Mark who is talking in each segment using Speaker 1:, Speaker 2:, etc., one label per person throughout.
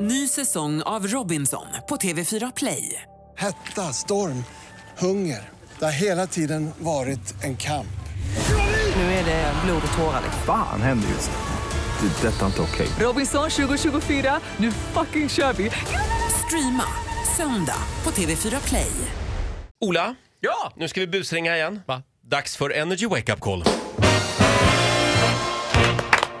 Speaker 1: Ny säsong av Robinson på TV4 Play.
Speaker 2: Hetta, storm, hunger. Det har hela tiden varit en kamp.
Speaker 1: Nu är det blod och tårar. liksom.
Speaker 3: Fan händer just nu. Det. är Detta är inte okej.
Speaker 1: Robinson 2024, nu fucking kör vi! Streama söndag på TV4 Play.
Speaker 4: Ola, ja? nu ska vi busringa igen. Va? Dags för Energy Wake Up Call.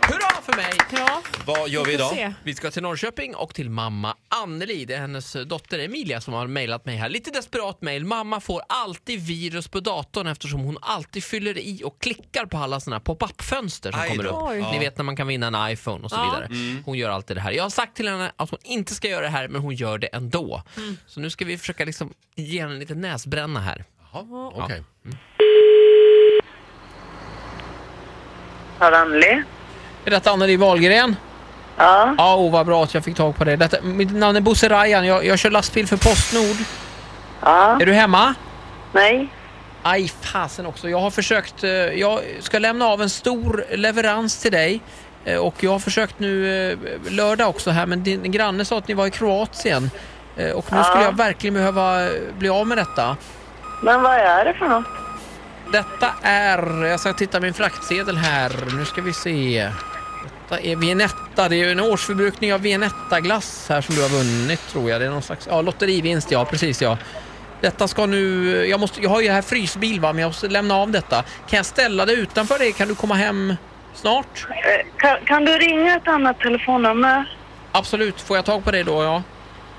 Speaker 5: Hurra för mig!
Speaker 6: Ja,
Speaker 4: Vad gör vi
Speaker 6: vi
Speaker 4: idag?
Speaker 6: får se.
Speaker 5: Vi ska till Norrköping och till mamma Anneli. Det är hennes dotter Emilia som har mejlat mig här. Lite desperat mejl. Mamma får alltid virus på datorn eftersom hon alltid fyller i och klickar på alla såna här pop-up-fönster som
Speaker 4: Aj
Speaker 5: kommer
Speaker 4: då. Mm.
Speaker 5: upp.
Speaker 6: Oj.
Speaker 5: Ni vet när man kan vinna en iPhone och så
Speaker 6: Ja.
Speaker 5: vidare. Hon gör alltid det här. Jag har sagt till henne att hon inte ska göra det här men hon gör det ändå.
Speaker 6: Mm.
Speaker 5: Så nu ska vi försöka liksom ge henne lite näsbränna här.
Speaker 4: Jaha, okej.
Speaker 7: Har Anneli?
Speaker 5: Är detta Anneli Wahlgren?
Speaker 7: Ja.
Speaker 5: Ja, oh, vad bra att jag fick tag på dig. Detta, mitt namn är Bosse Rajan. Jag, jag kör lastbil för Postnord.
Speaker 7: Ja.
Speaker 5: Är du hemma?
Speaker 7: Nej.
Speaker 5: Aj, fasen också. Jag har försökt... eh, Jag ska lämna av en stor leverans till dig. eh, Och jag har försökt nu eh, lördag också här, men din granne sa att ni var i Kroatien. Eh, Och nu skulle jag verkligen behöva eh, bli av med detta.
Speaker 7: Men vad är det för något?
Speaker 5: Detta är... Jag ska titta min fraktsedel här. Nu ska vi se. Detta är Vienetta. Det är ju en årsförbrukning av Vienetta-glass här som du har vunnit tror jag. Det är någon slags... Ja, lotterivinst ja. Precis ja. Detta ska nu... Jag, måste, jag har ju här frysbil va, men jag måste lämna av detta. Kan jag ställa det utanför dig? Kan du komma hem snart?
Speaker 7: Eh, Kan, kan du ringa ett annat telefonnummer?
Speaker 5: Absolut. Får jag tag på dig då ja?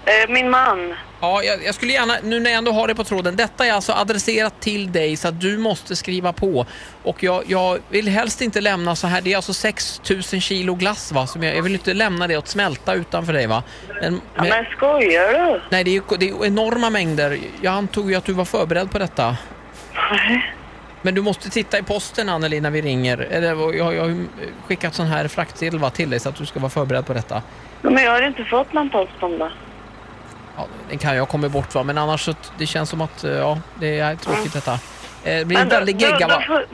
Speaker 7: Eh, Min man.
Speaker 5: Ja, jag, jag skulle gärna, nu när jag ändå har det på tråden, detta är alltså adresserat till dig så att du måste skriva på. Och jag, jag vill helst inte lämna så här, det är alltså 6000 kilo glass va, som jag, jag vill inte lämna det att smälta utanför dig va. Men,
Speaker 7: Ja,
Speaker 5: men,
Speaker 7: men skojar du?
Speaker 5: nej, det är, ju, det är ju enorma mängder. Jag antog ju att du var förberedd på detta.
Speaker 7: Nej.
Speaker 5: Men du måste titta i posten Anneli när vi ringer. Eller, Jag, jag har ju skickat sån här fraktsedel va, till dig så att du ska vara förberedd på detta.
Speaker 7: Men jag har inte fått någon post om det.
Speaker 5: Ja, den kan jag komma bort va, men annars så det känns som att eh, ja, det är tråkigt detta. Eh, Det blir en
Speaker 7: du,
Speaker 5: väldig gegga
Speaker 7: du,
Speaker 5: va?
Speaker 7: du, får,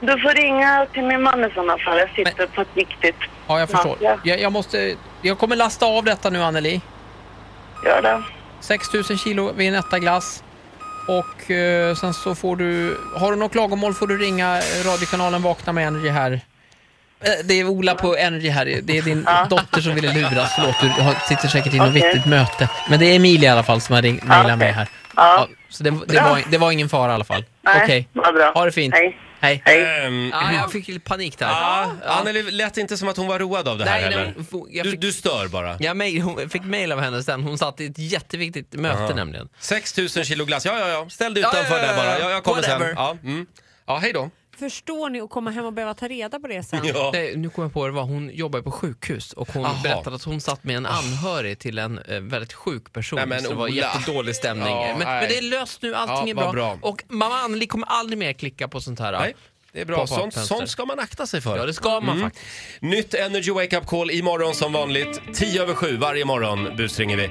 Speaker 7: du får ringa till min man i sådana fall. Jag sitter på ett viktigt...
Speaker 5: Ja, jag förstår.
Speaker 7: Ja.
Speaker 5: Jag, jag, måste, jag kommer lasta av detta nu Anneli.
Speaker 7: Gör det.
Speaker 5: 6000 kilo Vinetta glass. Och eh, sen så får du, har du något klagomål får du ringa radiokanalen Vakna med Energy här. Eh, Det är Ola på Energy här. Det är din dotter som ville luras. Förlåt, du har- sitter säkert i något
Speaker 7: Okej.
Speaker 5: viktigt möte. Men det är Emilia i alla fall som har ring- mejlat
Speaker 7: okej.
Speaker 5: mig här.
Speaker 7: Ja.
Speaker 5: så det, det, var, det var ingen fara i alla fall.
Speaker 7: Nej,
Speaker 5: Okej.
Speaker 7: vad bra.
Speaker 5: Ha det fint.
Speaker 7: Hej.
Speaker 5: Hej.
Speaker 7: Hej.
Speaker 4: Ehm,
Speaker 5: Ja, jag fick lite panik där.
Speaker 4: ah, Anneli lät inte som att hon var road av det här
Speaker 5: Nej, nej,
Speaker 4: heller.
Speaker 5: jag
Speaker 4: Du,
Speaker 5: fick-
Speaker 4: du stör bara.
Speaker 5: Jag mejl, hon fick mejl av henne sen. Hon satt i ett jätteviktigt möte nämligen.
Speaker 4: 6000 kilo glass. Ja, ja, ja. Ställ dig
Speaker 5: Ja, ja,
Speaker 4: utanför
Speaker 5: ja, ja,
Speaker 4: där bara. Ja, jag kommer
Speaker 5: whatever.
Speaker 4: sen. Ja, mm. ja hej då.
Speaker 6: Förstår ni att komma hem och behöva ta reda på det sen?
Speaker 4: Ja.
Speaker 5: Nej, nu kom jag på det var. Hon jobbar ju på sjukhus och hon
Speaker 4: Aha. Ah.
Speaker 5: berättade att hon satt med en anhörig till en eh, väldigt sjuk person.
Speaker 4: Nej, men
Speaker 5: så det var
Speaker 4: Ola.
Speaker 5: jättedålig stämning.
Speaker 4: Ja,
Speaker 5: men,
Speaker 4: nej.
Speaker 5: men det är löst nu,
Speaker 4: Ja,
Speaker 5: allting är
Speaker 4: vad
Speaker 5: bra.
Speaker 4: bra.
Speaker 5: Och mamma Anneli kommer aldrig mer klicka på sånt här.
Speaker 4: Nej, det är bra.
Speaker 5: Pop-up
Speaker 4: Sånt,
Speaker 5: fönster.
Speaker 4: sånt ska man akta sig för. Mm.
Speaker 5: Ja, det ska man faktiskt.
Speaker 4: Nytt Energy Wake Up Call imorgon som vanligt. 10 över 7 varje morgon busringer vi.
Speaker 7: Eh.